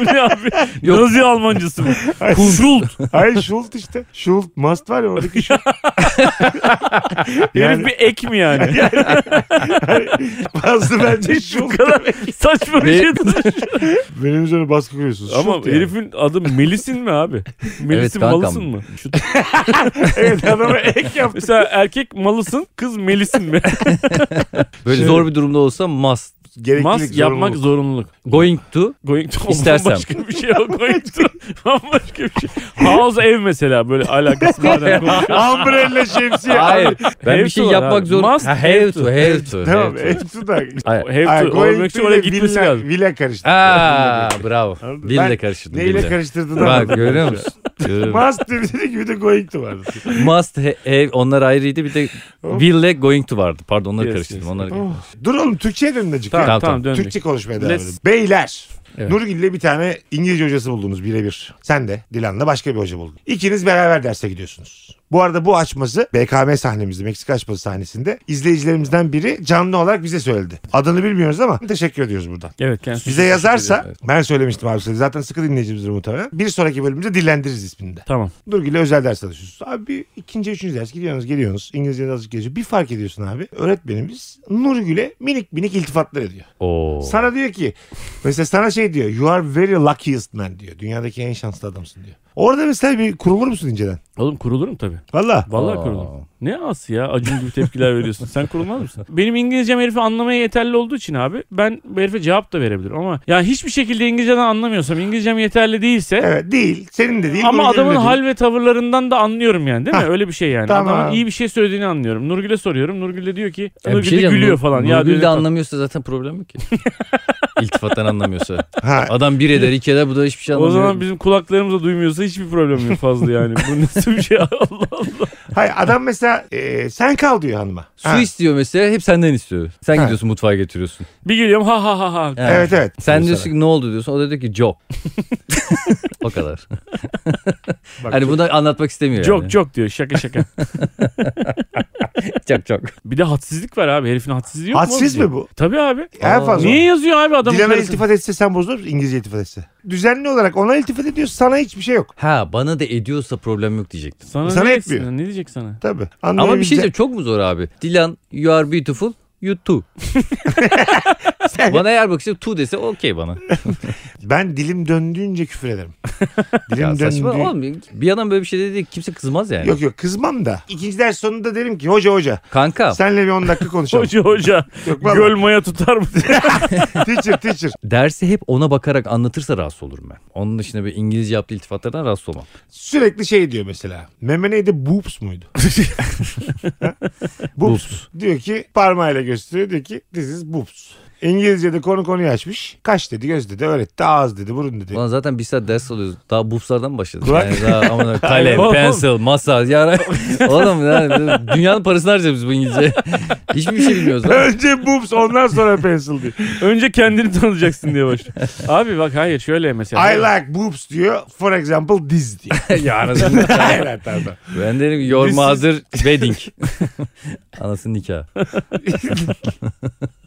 C: bu ne abi?
D: Yok.
C: Nazi Almancısı mı?
E: Hayır.
C: Schult.
E: Hayır Şult işte. Şult. Must var ya oradaki Şult.
C: Herif
E: yani
C: bir ek mi yani?
E: fazla bence
C: Bu
E: Şult.
C: kadar saçma bir
D: Ve-
C: şey. değil.
E: Benim üzerine baskı kuruyorsunuz.
C: Ama
E: Şult yani.
C: herifin adı Melis'in mi abi? Melis'in
D: kankam.
C: malısın mı? Şu-
E: Evet adama ek yaptı.
C: mesela erkek malısın, kız Melis'in mi?
D: Böyle
E: Şey-
D: zor bir durumda olsa must.
E: Gereklilik
C: Mas yapmak zorunluluk.
D: Going to.
C: Going to
D: İstersen.
C: Başka bir şey o going to. Bambaşka bir şey. House ev mesela böyle alakası madem konuşuyor.
E: Umbrella şemsiye.
D: Hayır. Ben
C: Have
D: bir şey
C: to var
D: yapmak
C: abi.
D: zorunda.
C: Must
D: Ha,
C: have
D: Have
C: to.
D: to. Have to.
E: Tamam.
D: Have to.
E: Hepsi de.
D: Hayır.
C: Have to olmak için oraya gitmesi
E: villa,
C: lazım.
E: Villa karıştı.
D: Aa bravo.
E: Anladın? Ben
D: Dille karıştırdın.
E: Neyle
D: dille.
E: karıştırdın?
D: Bak görüyor musun? Görüyor musun?
E: Must dedi gibi de going to vardı.
D: Must ha- have. Onlar ayrıydı. Bir de will'le going to vardı. Pardon onları
C: Yes,
D: karıştırdım.
C: yes.
D: Onları
E: Dur oğlum Türkçe'ye dönün azıcık
C: Tamam
E: ya.
C: tamam,
D: Tamam, tamam.
C: döndük.
E: Türkçe konuşmaya devam
C: Let's-
E: edelim. Beyler.
D: Evet.
E: Nurgül'le bir tane İngilizce hocası buldunuz birebir. Sen de Dilan'la başka bir hoca buldun. İkiniz beraber derse gidiyorsunuz. Bu arada bu açması BKM sahnemizde Meksika açması sahnesinde izleyicilerimizden biri canlı olarak bize söyledi. Adını bilmiyoruz ama teşekkür ediyoruz buradan.
C: Evet kendisi.
E: Bize yazarsa ben söylemiştim abi size. zaten sıkı dinleyicimizdir muhtemelen. Bir sonraki bölümde dillendiririz ismini de.
C: Tamam.
E: Nurgül'le özel ders çalışıyorsunuz. Abi bir ikinci, üçüncü ders gidiyorsunuz, geliyorsunuz. İngilizce azıcık geçiyor. Bir fark ediyorsun abi. Öğretmenimiz Nurgül'e minik minik iltifatlar ediyor.
D: Oo.
E: Sana diyor ki mesela sana şey diyor. You are very luckiest man diyor. Dünyadaki en şanslı adamsın diyor. Orada mesela bir kurulur musun inceden?
C: Oğlum kurulurum tabii.
E: Valla.
C: Vallahi
D: Aa.
C: kurulurum. Ne as ya acun gibi tepkiler veriyorsun. Sen kurulmaz mısın? Benim İngilizcem herifi anlamaya yeterli olduğu için abi ben bu herife cevap da verebilirim ama ya hiçbir şekilde İngilizceden anlamıyorsam İngilizcem yeterli değilse
E: Evet değil. Senin de değil.
C: ama
E: Nurgül'ün de
C: adamın
E: değil.
C: hal ve tavırlarından da anlıyorum yani değil mi?
E: Hah.
C: Öyle bir şey yani.
E: Tamam.
C: Adamın iyi bir şey söylediğini anlıyorum. Nurgül'e soruyorum. Nurgül de diyor ki
D: Yani bir
C: Nurgül de
D: şey diyeceğim,
C: gülüyor
D: Nur-
C: falan. ya diyor,
D: Nurgül
C: ne
D: de
C: tatlı.
D: anlamıyorsa zaten problem yok ki. İltifattan anlamıyorsa.
E: Ha,
D: Adam bir eder iki eder bu da hiçbir şey
C: O
D: anlamıyor.
C: zaman bizim kulaklarımız da duymuyorsa hiçbir problem yok fazla yani. Bu nasıl bir şey Allah Allah.
E: hayır adam mesela e, sen kal diyor hanıma.
D: Su
E: Ha,
D: istiyor mesela hep senden istiyor. Sen
E: Ha.
D: gidiyorsun mutfağa getiriyorsun.
C: Bir geliyorum ha ha ha ha.
D: Ha.
E: Evet evet.
D: Sen
E: Diyor
D: diyorsun ki ne oldu diyorsun. O da diyor ki job. o kadar.
E: sana. Bak,
D: Hani bunu da anlatmak istemiyor
C: Çok
D: yani.
C: çok diyor şaka şaka.
D: Çok çok.
C: Bir de hadsizlik var abi. Herifin hadsizliği yok mu?
E: Hadsiz
C: oğlum
E: mi bu?
C: Tabii abi.
E: En fazla.
C: Niye yazıyor abi adamın
E: Dilan'a
C: karısını?
E: iltifat etse sen bozulur musun? İngilizce iltifat etse. Düzenli olarak ona iltifat ediyorsun sana hiçbir şey yok.
D: Ha bana da ediyorsa problem yok diyecektim.
C: Sana,
E: Sana
C: ne
E: etmiyor.
C: etsin? Ne diyecek sana?
E: Tabii.
D: Ama bir şey
E: Anlayabileceğin-
D: diyeceğim çok mu zor abi? Dilan you are beautiful you too. bana eğer bakışta too dese okey bana.
E: Ben dilim döndüğünce küfür ederim. dilim
D: Ya saçma
E: döndüğü-
D: oğlum. Bir adam böyle bir şey dedi kimse kızmaz yani.
E: Yok yok kızmam da. İkinci ders sonunda derim ki hoca hoca
D: Kanka
E: senle bir 10 dakika konuşalım.
C: Hoca hoca
E: yok valla.
C: göl maya tutar mı?
E: teacher teacher.
D: dersi hep ona bakarak anlatırsa rahatsız olurum ben. Onun dışında bir İngilizce yaptığı iltifatlardan rahatsız olmam.
E: Sürekli şey diyor mesela. Meme neydi? Boobs muydu? boobs. Diyor ki parmağıyla gösteriyor. Diyor ki this is boobs. İngilizce'de konu konuyu açmış. Kaş dedi, göz dedi, öğretti, ağız dedi, burun dedi.
D: Ulan zaten bir saat ders alıyoruz. Daha bufslardan mı başladık?
E: Ulan-
D: Yani daha aman kalem,
C: Oğlum.
D: pencil, masa. Ya, oğlum yani dünyanın parasını harcıyoruz biz bu İngilizce. Hiçbir şey bilmiyoruz. lan.
E: Önce boobs ondan sonra pencil diyor.
C: Önce kendini tanıyacaksın diye başlıyor. Abi bak hayır şöyle mesela.
E: I like boobs diyor. For example diz diyor.
D: ya anasını.
E: Hayır pardon.
D: Ben derim ki your
E: This is-
D: mother wedding. Anasının nikahı.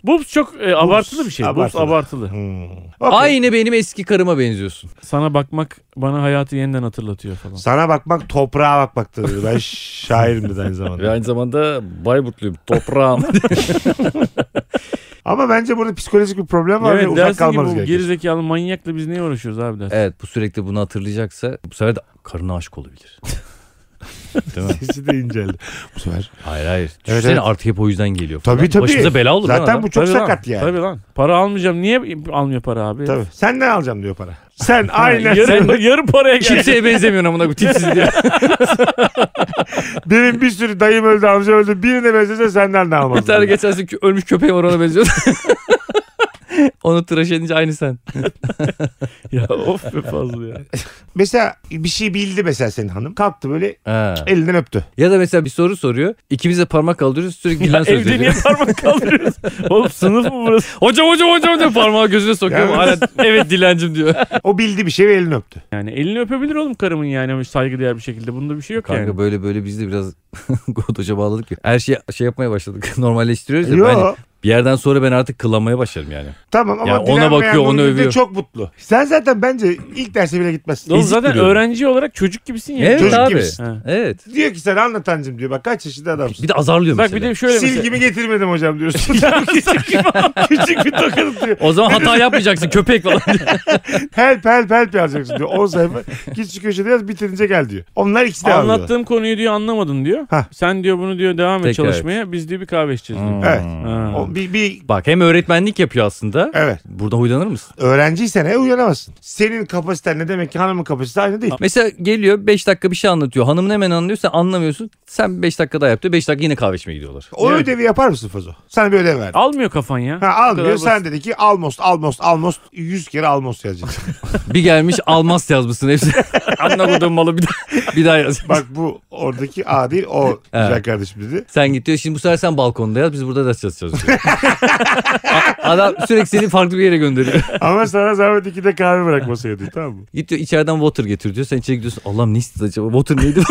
C: Boobs çok e, abartılı bir şey. Boobs
E: abartılı.
C: abartılı.
E: Hmm. Okey.
D: Aynı benim eski karıma benziyorsun.
C: Sana bakmak bana hayatı yeniden hatırlatıyor falan.
E: Sana bakmak toprağa bakmaktır diyor. Ben şairim dedi aynı
D: Ve
E: zamanda.
D: aynı zamanda Bayburtluyum. Toprağım.
E: Ama bence burada psikolojik bir problem var ve
C: Evet
E: uzak
C: dersin ki bu
E: kalmanız gerekiyor.
C: gerizekalı manyakla biz niye uğraşıyoruz abi dersin.
D: evet bu sürekli bunu hatırlayacaksa bu sefer de karına aşık olabilir. Değil mi?
E: Sesi de inceldi. Bu sefer.
D: Hayır hayır. Düşünsene
E: Evet, evet.
D: artık hep o yüzden geliyor. falan.
E: Tabii tabii.
D: Başımıza bela olur lan
E: Zaten
D: adam.
E: bu çok
C: Tabii lan,
E: sakat yani.
C: Tabii lan. Para almayacağım. Niye almıyor para abi?
E: Tabii. Senden alacağım diyor para. Sen aynen sen.
C: Yarı, yarı paraya gel.
D: Kimseye benzemiyorsun amına bu tipsiz diye.
E: Benim bir sürü dayım öldü, amca öldü. Birine benzese senden de almaz.
D: Bir tane geçen sene kö- ölmüş köpeğim var ona benziyor. Onu tıraş edince aynı sen.
C: ya of be fazla ya.
E: Mesela bir şey bildi mesela senin hanım. Kalktı böyle
D: Ha.
E: elinden öptü.
D: Ya da mesela bir soru soruyor. İkimiz de parmak kaldırıyoruz sürekli gülen söz
C: Evde niye
D: ediyor.
C: parmak kaldırıyorsun? Oğlum sınıf mı burası?
D: Hocam hocam hocam hocam parmağı gözüne sokuyor.
E: Ya.
D: Hala, evet dilencim diyor.
E: O bildi bir şey ve elini öptü.
C: Yani elini öpebilir oğlum karımın yani ama saygıdeğer bir şekilde. Bunda bir şey yok
D: Kanka
C: yani.
D: böyle böyle biz de biraz Godoş'a bağladık ya. Her şey şey yapmaya başladık. Normalleştiriyoruz ya.
E: Yo.
D: Ben- bir yerden sonra ben artık kıllanmaya başlarım yani.
E: Tamam ama
D: Ya ona
E: dilenmeyen
D: bakıyor,
E: bunu
D: onu
E: bilince
D: övüyor.
E: Çok mutlu. Sen zaten bence ilk derse bile gitmezsin.
C: Oğlum
D: ezik
C: E zaten
D: duruyorum.
C: öğrenci olarak çocuk gibisin ya.
D: Evet
E: Çocuk
D: abi.
E: gibisin.
C: Ha.
D: Evet.
E: Diyor ki sen anlatancım diyor. Bak kaç yaşında adamsın.
D: Bir de azarlıyor
C: Bak
D: mesela.
C: bir de şöyle mesela.
E: Silgimi getirmedim hocam diyorsun. küçük, küçük bir tokat atıyor.
D: O zaman hata yapmayacaksın köpek falan diye.
E: Help help help yazacaksın diyor. 10 sayfa. Git şu köşede yaz bitirince gel diyor. Onlar ikisi de anlattı.
C: Anlattığım konuyu diyor anlamadın diyor.
E: Hah.
C: Sen diyor bunu diyor devam et
D: Tekrar et.
C: çalışmaya. Biz diyor bir kahve içeceğiz diyor.
E: Evet.
C: Ha.
E: O bir, bir,
D: Bak hem öğretmenlik yapıyor aslında.
E: evet.
D: Burada huylanır mısın?
E: Öğrenciysen e, uyanamazsın. Senin kapasiten ne demek ki hanımın kapasitesi aynı değil.
D: Mesela geliyor 5 dakika bir şey anlatıyor. Hanımın hemen anlıyor sen anlamıyorsun. Sen 5 dakika daha yaptı. 5 dakika yine kahve içmeye gidiyorlar.
E: O
C: Evet.
E: ödevi yapar mısın Fazo? Sana bir ödev verdi.
C: Almıyor kafan ya.
E: Ha
C: Bu
E: almıyor.
C: kadar
E: Sen dedi ki almost almost almost 100 kere almost yazacaksın.
D: bir gelmiş almaz yazmışsın hepsi. Anlamadığım malı bir daha, bir daha yaz.
E: Bak bu oradaki A değil o güzel kardeşim dedi.
D: Sen git diyor. Şimdi bu sefer sen balkonda yaz. Biz burada ders çalışacağız. diyor. A- Adam sürekli seni farklı bir yere gönderiyor.
E: Ama sana zahmet iki de kahve bırakmasaydı tamam mı?
D: Git diyor içeriden water getir diyor. Sen içeri gidiyorsun. Allah'ım ne istedi acaba? Water neydi?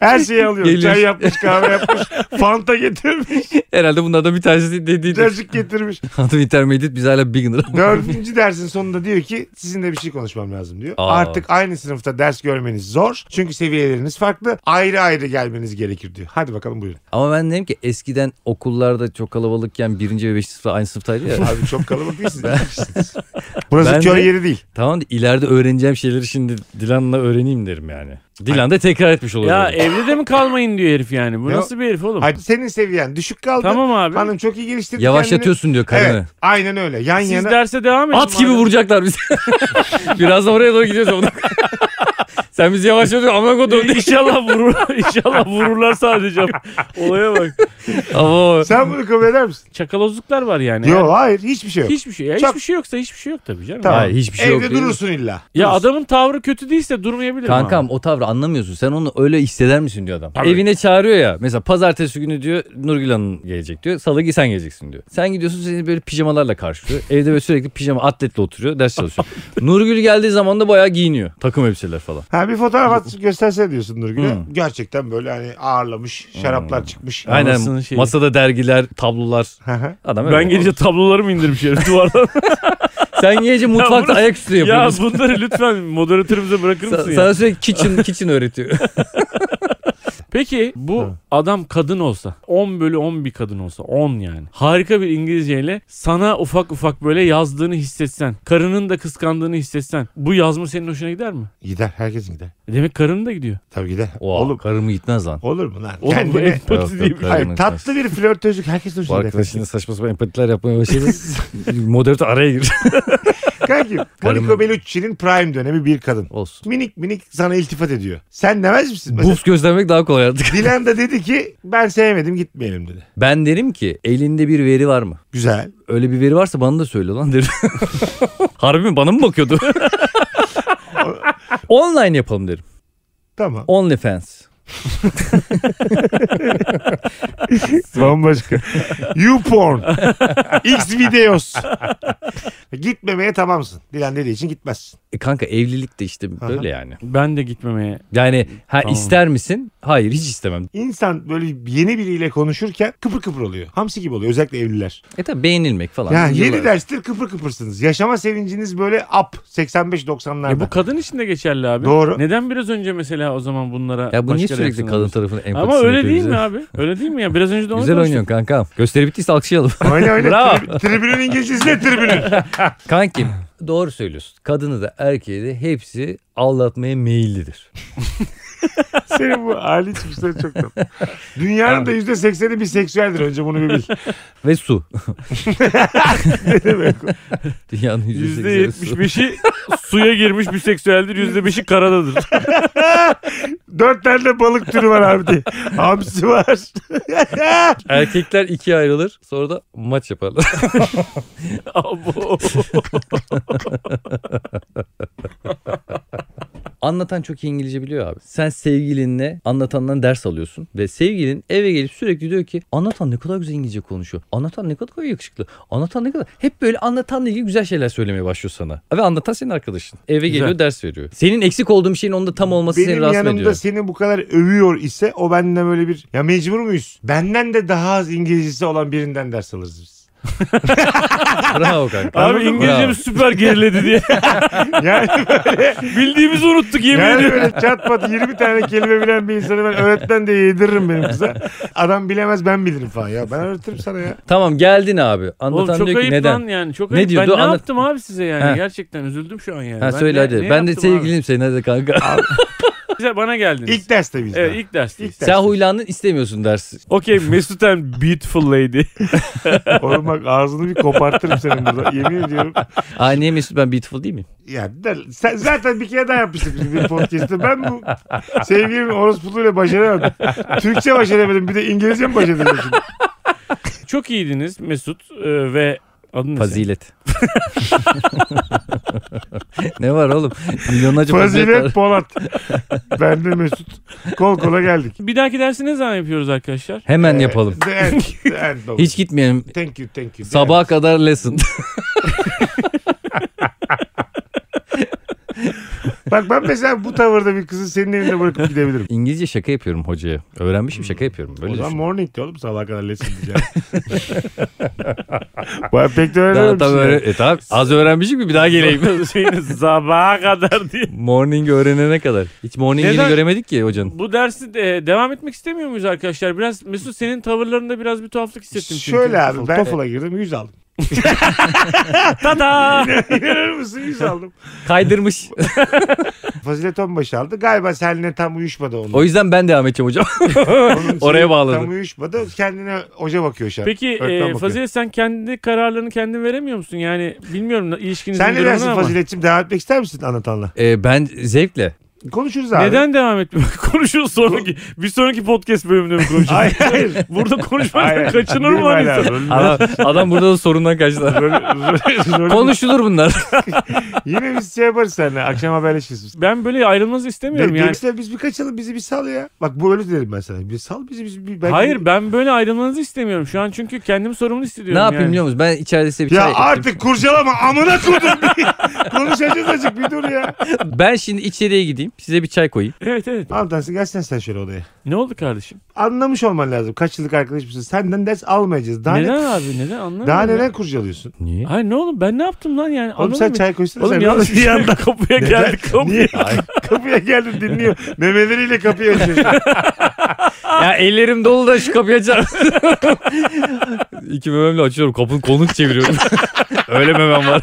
E: Her şeyi alıyor.
D: Geliyor.
E: Çay yapmış kahve yapmış. Fanta getirmiş.
D: Herhalde bunlardan bir tanesi dediydi.
E: Cacık getirmiş.
D: Hanım intermediate biz hala beginner.
E: Dördüncü dersin sonunda diyor ki sizinle bir şey konuşmam lazım diyor.
D: Aa.
E: Artık aynı sınıfta ders görmeniz zor. Çünkü seviyeleriniz farklı. Ayrı ayrı gelmeniz gerekir diyor. Hadi bakalım buyurun.
D: Ama ben dedim ki eskiden okullarda çok kalabalıkken birinci ve beşinci sınıfta aynı sınıftaydı ya.
E: Abi çok kalabalık değilsiniz. iki kişisiniz. Burası
D: Ben
E: köy
D: de-
E: yeri değil.
D: tamam da ileride öğreneceğim şeyleri şimdi Dilan'la öğreneyim derim yani. Dilan da tekrar etmiş olur.
C: Ya
D: orada.
C: evde de mi kalmayın diyor herif yani. Bu
E: Ya-
C: nasıl bir herif oğlum?
E: Hayır, senin seviyen düşük kaldı.
C: Tamam abi.
E: Hanım çok iyi geliştirdi kendini.
D: Yavaşlatıyorsun diyor karını.
E: Evet, aynen öyle. Yan
C: Siz
E: yana.
C: derse devam edin.
D: At gibi
C: madem.
D: vuracaklar bizi. Biraz da oraya doğru gidiyoruz. Onu- Sen bizi yavaşlatıyorsun. Amına kodum.
C: İnşallah vururlar. İnşallah vururlar sadece. Olaya bak.
D: Ama
E: Sen bunu kabul eder misin?
C: Çakalozluklar var yani.
E: Yok hayır hiçbir şey yok.
C: Hiçbir şey. Ya
E: Çok-
C: Hiçbir şey yoksa hiçbir şey yok tabii canım.
E: Tamam.
D: Hayır, hiçbir şey
E: Evde
D: yok değil mi?
E: durursun illa.
C: Ya
E: Durursun.
C: adamın tavrı kötü değilse durmayabilir
D: Kankam o tavrı anlamıyorsun. Sen onu öyle hisseder misin diyor adam.
C: Tabii.
D: Evine çağırıyor ya. Mesela pazartesi günü diyor Nurgül Hanım gelecek diyor. Salı gi- sen geleceksin diyor. Sen gidiyorsun seni böyle pijamalarla karşılıyor. Evde böyle sürekli pijama atletle oturuyor ders çalışıyor. Nurgül geldiği zaman da bayağı giyiniyor. Takım elbiseler falan.
E: Ha bir fotoğraf at göstersene diyorsun Nurgül'e.
D: Hmm.
E: Gerçekten böyle hani ağırlamış, şaraplar çıkmış.
D: Aynen
C: Anasının şeyi.
D: masada dergiler, tablolar.
E: Hı hı.
D: Adam öyle.
C: Ben gelince tabloları mı indirmiş herif duvardan?
D: Sen gelince mutfakta
C: burası-
D: ayaküstü
C: ya
D: yapıyorsun.
C: bunları lütfen moderatörümüze bırakır
D: Sa-
C: mısın ya?
D: sana sürekli kitchen, kitchen öğretiyor.
C: Peki bu adam kadın olsa 10 bölü 10 bir kadın olsa 10 yani harika bir İngilizceyle sana ufak ufak böyle yazdığını hissetsen karının da kıskandığını hissetsen bu yazma senin hoşuna gider mi?
E: Gider, herkesin gider.
C: E Demek karının da gidiyor.
E: Tabii gider.
D: Oha,
E: Oğlum,
D: karımı gitmez lan.
E: olur mu lan?
C: Oğlum bu
E: Kendine...
C: empati
D: Yok, yok,
C: değil mi?
D: karımı
E: Hayır,
D: gitmez.
E: tatlı bir flörtözlük herkesin
D: Bu
E: hoşuna gider.
D: arkadaşın saçma sapan empatiler yapmaya başladı. Moderatör araya gir.
E: Kankim, Monica
D: Karımı-
E: Bellucci'nin prime dönemi bir kadın.
D: Olsun.
E: Minik minik sana iltifat ediyor. Sen demez misin? Mesela
D: Buz gözlemek daha kolay artık.
E: Dilan da dedi ki ben sevmedim gitmeyelim dedi.
D: Ben derim ki elinde bir veri var mı?
E: Güzel.
D: Öyle bir veri varsa bana da söyle lan derim. Harbi mi bana mı bakıyordu? Online yapalım derim.
E: Tamam.
D: OnlyFans.
E: Bambaşka. YouPorn. X videos. Gitmemeye tamamsın. Dilan dediği için gitmezsin.
D: E kanka evlilik de işte
E: Aha.
D: böyle yani.
C: Ben de gitmemeye
D: Yani ha
C: Tamam.
D: ister misin? Hayır hiç istemem.
E: İnsan böyle yeni biriyle konuşurken kıpır kıpır oluyor. Hamsi gibi oluyor özellikle evliler.
D: E tabi beğenilmek falan.
E: Ya
D: Yıllar-
E: yeni derstir kıpır kıpırsınız. Yaşama sevinciniz böyle up 85-90'larda.
C: E bu kadın için de geçerli abi.
E: Doğru.
C: Neden biraz önce mesela o zaman bunlara
D: Ya bu niye
C: başka
D: sürekli
C: reaksiyon
D: kadın
C: alıyorsun?
D: tarafının empatisini
C: Ama öyle
D: yapıyor
C: değil
D: bize?
C: mi abi? Öyle değil mi ya? Biraz önce de onu
D: Güzel
C: konuştuk.
D: oynuyorsun kankam. Gösteri bittiyse alkışlayalım.
E: Öyle öyle.
C: Bravo.
E: Tri- Tribünün İngilizcesi ne tribünün?
D: Kankim doğru söylüyorsun. Kadını da erkeği de hepsi aldatmaya meyillidir.
E: Senin bu hali çıkışları çok tatlı. Dünyanın da %80'i bir seksüeldir önce bunu bir bil.
D: Ve su.
E: Ne demek o?
D: Dünyanın %80'i su.
C: %75'i suya girmiş bir seksüeldir, %5'i karadadır.
E: Dört tane balık türü var abi diye. Hamsi var.
D: Erkekler ikiye ayrılır sonra da maç yaparlar.
C: Abo.
D: Anlatan çok iyi İngilizce biliyor abi. Sen sevgilinle anlatandan ders alıyorsun. Ve sevgilin eve gelip sürekli diyor ki anlatan ne kadar güzel İngilizce konuşuyor. Anlatan ne kadar yakışıklı. Anlatan ne kadar. Hep böyle anlatanla ilgili güzel şeyler söylemeye başlıyor sana. Ve anlatan senin arkadaşın. Eve
C: Güzel.
D: geliyor ders veriyor. Senin eksik olduğun bir şeyin onda tam olması seni
E: Benim
D: rahatsız
E: yanımda
D: ediyor.
E: seni bu kadar övüyor ise o benden böyle bir ya mecbur muyuz? Benden de daha az İngilizcesi olan birinden ders alırız biz.
D: Bravo kanka.
C: Abi
D: Anladın mı? Bravo.
C: İngilizcem süper geriledi diye.
E: Yani böyle,
C: Bildiğimizi unuttuk yemin
E: yani
C: ediyorum.
E: böyle çat pat 20 tane kelime bilen bir insanı ben öğretmen de yediririm benim kıza. Adam bilemez ben bilirim falan ya. Ben öğretirim sana ya.
D: Tamam geldin abi. Anlatan
C: Oğlum çok
D: diyor ki
C: ayıp
D: neden?
C: lan yani çok
D: Ne
C: ayıp.
D: diyordu?
C: ben ne
D: Anlat-
C: yaptım abi size yani
D: Ha.
C: gerçekten üzüldüm şu an yani.
D: Ha,
C: Ben
D: söyle
C: ne-
D: hadi.
C: ne
D: ben de
C: yaptım abi?
D: sevgilim seni hadi kanka.
C: Size bana geldiniz.
E: İlk derste biz.
C: evet,
E: daha.
C: ilk dersteyiz.
E: İlk
D: Sen huylandın istemiyorsun dersi.
C: Okey Mesut and Beautiful Lady.
E: Oğlum bak ağzını bir kopartırım senin burada. Yemin ediyorum.
D: Aa niye Mesut ben beautiful değil miyim?
E: Ya der, sen zaten bir kere daha yapmıştık biz bir podcast'te. Ben bu sevgilimi orospuluğuyla başaramadım. Türkçe başaramadım. Bir de İngilizce mi başaramadım şimdi?
C: Çok iyiydiniz Mesut e, ve adın ne? senin?
D: Fazilet. ne var oğlum? Milyonlarca fazilet.
E: Fazilet
D: var.
E: Polat. Ben de Mesut. Kol kola geldik.
C: Bir dahaki dersi ne zaman yapıyoruz arkadaşlar?
D: Hemen
E: Ee,
D: yapalım.
E: The end. The end oldu.
D: Hiç gitmeyelim.
E: Thank you, thank you. The
D: Sabaha kadar lesson.
E: end. Bak ben mesela bu tavırda bir kızı senin evinde bırakıp gidebilirim.
D: İngilizce şaka yapıyorum hocaya. Öğrenmişim şaka yapıyorum. Böyle
E: o zaman
D: düşün.
E: morning de oğlum sabah kadar lesson diyeceğim. Baya pek de
D: Daha
E: öğrenememişsin.
D: tabii
E: yani.
D: öyle- E tamam. Az öğrenmişim ki bir daha geleyim.
C: Şeyiniz, Sabaha kadar diye.
D: Morning öğrenene kadar. Hiç morning'ini
C: Neden?
D: göremedik ki hocanın.
C: Bu dersi de devam etmek istemiyor muyuz arkadaşlar? Biraz Mesut senin tavırlarında biraz bir tuhaflık hissettim. çünkü.
E: Şöyle abi ben TOEFL'a girdim 100 aldım.
C: Tada!
E: İnanır mısın 100 aldım.
D: Kaydırmış.
E: Fazilet Onbaşı aldı. Galiba seninle tam uyuşmadı onun.
D: o yüzden ben devam edeceğim hocam.
E: Onun
D: oraya
E: şeyi
D: bağladı.
E: Tam uyuşmadı. Kendine hoca bakıyor şu an.
C: Peki
E: Öğretmen
C: e,
E: bakıyor.
C: Fazilet sen kendi kararlarını kendin veremiyor musun? Yani bilmiyorum ilişkinizin
E: Sen ne
C: durumunu
E: dersin
C: ama.
E: Fazilet'ciğim? Devam etmek ister misin anlatanla?
D: E, ben zevkle.
E: Konuşuruz abi.
C: Neden devam etmiyor? Konuşuyoruz sonraki. Bir sonraki podcast bölümünde mi konuşacağız?
E: Hayır hayır.
C: Burada
E: Hayır.
C: konuşmaktan kaçınır
E: Değil
C: mı lan
E: hala.
C: insan?
D: Adam, adam burada da sorundan kaçtı.
E: Rol- rol-
D: Konuşulur bunlar.
E: Yine biz şey yaparız seninle. Akşam haberleşiriz.
C: Ben böyle ayrılmanızı istemiyorum
E: De,
C: yani.
E: Deniz'le biz bir kaçalım bizi bir sal ya. Bak bu öyle derim ben sana. Bir sal bizi. bizi bir, belki-
C: Hayır ben böyle ayrılmanızı istemiyorum. Şu an çünkü kendim sorumlu hissediyorum
D: ne yapayım
C: yani.
D: biliyor musun? Ben içeride size bir
E: Ya
D: çay yapayım.
E: artık kurcalama amına kurdum. Konuşacağız azıcık bir dur ya.
D: Ben şimdi içeriye gideyim. Size bir çay koyayım.
C: Evet evet.
E: Aldansın gelsene sen şöyle odaya.
C: Ne oldu kardeşim?
E: Anlamış olman lazım. Kaç yıllık arkadaş mısın? Senden ders almayacağız. Daha
C: neden
E: ne,
C: abi neden anlamıyorum.
E: daha neden
C: ya.
E: kurcalıyorsun?
D: Niye?
C: Hayır ne oğlum ben ne yaptım lan yani.
E: Oğlum
C: Anladın
E: sen
C: mı?
E: çay koysana.
C: Oğlum
E: sen
C: yanlış şey. bir anda kapıya
E: Neden?
C: geldik. Kapıya.
E: Niye? kapıya geldim dinliyor. Memeleriyle kapıyı açıyor.
D: Ya ellerim dolu da şu kapıyı açar mısın? İki mememle açıyorum. Kapının kolunu çeviriyorum. Öyle memem var.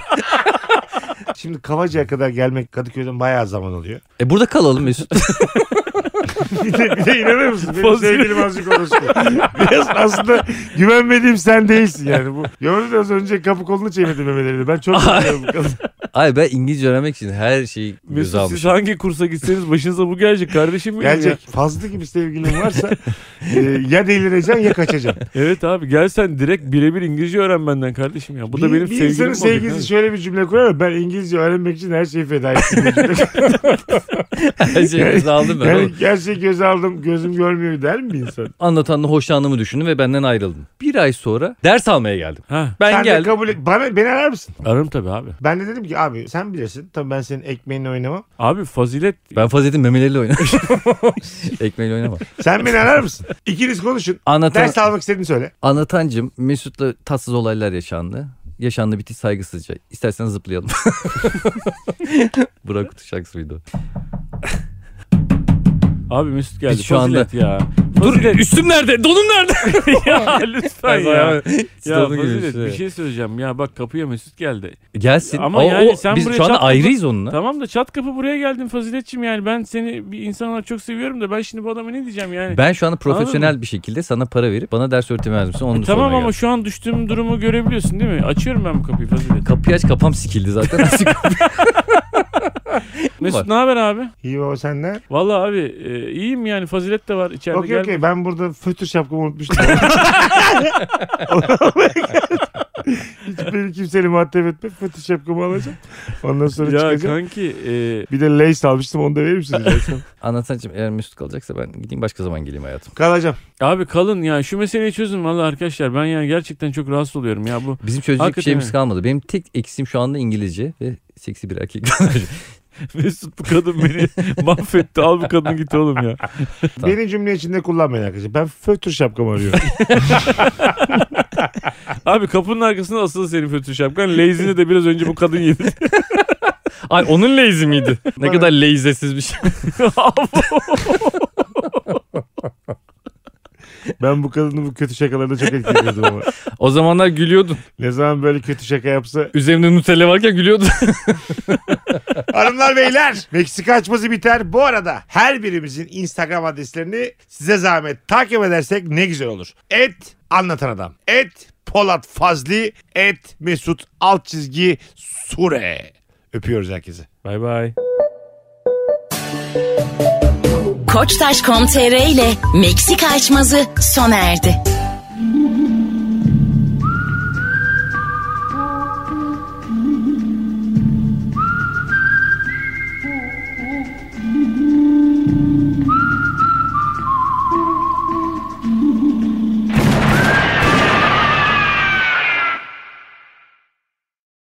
E: Şimdi Kavacı'ya kadar gelmek Kadıköy'den bayağı zaman alıyor.
D: E burada kalalım Mesut.
E: bir, de, bir de inanır mısın? Benim
C: Fazilet.
E: sevgilim azıcık orası. Biraz aslında güvenmediğim sen değilsin yani. Bu, gördün mü az önce kapı kolunu çevirdi memelerine. Ben çok üzülüyorum bu kadın.
D: Ay ben İngilizce öğrenmek için her şeyi göze
C: Mesut siz
D: almışım.
C: hangi kursa gitseniz başınıza bu gelecek kardeşim benim
E: Gelecek
C: ya.
E: fazla gibi sevgilin varsa e, ya delireceksin ya kaçacaksın.
C: Evet abi gel sen direkt birebir İngilizce öğren benden kardeşim ya. Bu da
E: bir,
C: benim
E: bir
C: sevgilim
E: insanın
C: olacak
E: sevgilisi
C: abi.
E: şöyle bir cümle kurar ama ben İngilizce öğrenmek için her şeyi feda ettim.
D: Her şeyi göze aldım ben.
E: yani
D: oğlum.
E: her şeyi göze aldım gözüm görmüyor der mi bir insan?
D: Anlatanla hoşlandığımı düşündüm ve benden ayrıldım. Bir ay sonra ders almaya geldim.
C: Ha,
D: Ben
E: Sen de
D: geldim.
E: kabul et. Bana, beni arar mısın?
C: ararım tabii abi.
E: Ben de dedim ki abi sen bilirsin. Tabii ben senin ekmeğinle oynamam.
C: Abi fazilet
D: Ben Fazilet'in memeleriyle oynadım. Ekmeğiyle oynama.
E: Sen beni arar mısın? İkiniz konuşun.
D: Anlatan,
E: Ders almak istediğini söyle.
D: anlatancım Mesut'la tatsız olaylar yaşandı. Yaşandı bitti saygısızca. İstersen zıplayalım. Burak Kutu şarkısıydı. o.
C: Abi Mesut geldi.
D: Biz şu
C: fazilet ya.
D: Dur üstüm nerede? Donum nerede?
C: ya lütfen ya. Ya
D: Stadın girişi.
C: Fazilet bir şey söyleyeceğim. Ya bak kapıya Mesut geldi.
D: şey- Gelsin.
C: Ama
D: Ama o,
C: yani
D: o-
C: sen
D: biz
C: buraya
D: şu anda
C: çarpmadın.
D: ayrıyız onunla.
C: Tamam da çat kapı buraya geldin Faziletçim yani. Ben seni bir insan olarak çok seviyorum da ben şimdi bu adama ne diyeceğim yani.
D: Ben şu anda profesyonel
C: Anladın E,
D: bir şekilde sana para verip bana ders öğretemez misin? Onu da
C: tamam
D: sormaya
C: ama
D: geldim.
C: şu an düştüğüm durumu görebiliyorsun değil mi? Açıyorum ben bu kapıyı Fazilet.
D: Kapıyı aç kafam sikildi zaten. Açık kapı.
C: Mesut ne haber abi?
E: İyi baba sen ne?
C: Vallahi abi e, iyiyim yani fazilet de var içeride.
E: Okey
C: gel-
E: okey ben burada fötür şapkamı unutmuştum. Hiç beni kimseyle muhatap etme. Fötür şapkamı alacağım. Ondan sonra
C: Ya
E: çıkacağım.
C: kanki e,
E: Bir de lace almıştım onu da verir misiniz? Lace al.
D: Anlatancım eğer Mesut kalacaksa ben gideyim başka zaman geleyim hayatım.
E: Kalacağım.
C: abi kalın ya şu meseleyi çözün vallahi arkadaşlar. Ben yani gerçekten çok rahatsız oluyorum ya bu.
D: Bizim çözecek
C: Hakikaten
D: bir şeyimiz
C: öyle.
D: kalmadı. Benim tek eksim şu anda İngilizce ve seksi bir erkek.
C: Mesut bu kadın beni mahvetti. Al bu kadın git oğlum ya.
D: Tamam.
E: Beni cümle içinde kullanmayın arkadaşlar. Ben fötür şapkamı arıyorum.
C: Abi kapının arkasında asılı senin fötür şapkan. Lazy'ni de biraz önce bu kadın yedi.
D: Ay onun lazy miydi? ne kadar lazy'siz bir şey.
E: ben bu kadının bu kötü şakalarına çok etkileniyordum ama.
D: O zamanlar gülüyordun.
E: Ne zaman böyle kötü şaka yapsa.
D: Üzerimde Nutella varken gülüyordun.
E: Hanımlar beyler Meksika açması biter. Bu arada her birimizin Instagram adreslerini size zahmet takip edersek ne güzel olur. Et anlatan adam. Et Polat Fazli. Et Mesut alt çizgi Sure. Öpüyoruz herkese.
C: Bay bay.
A: Koçtaş.com.tr ile Meksika açmazı sona erdi.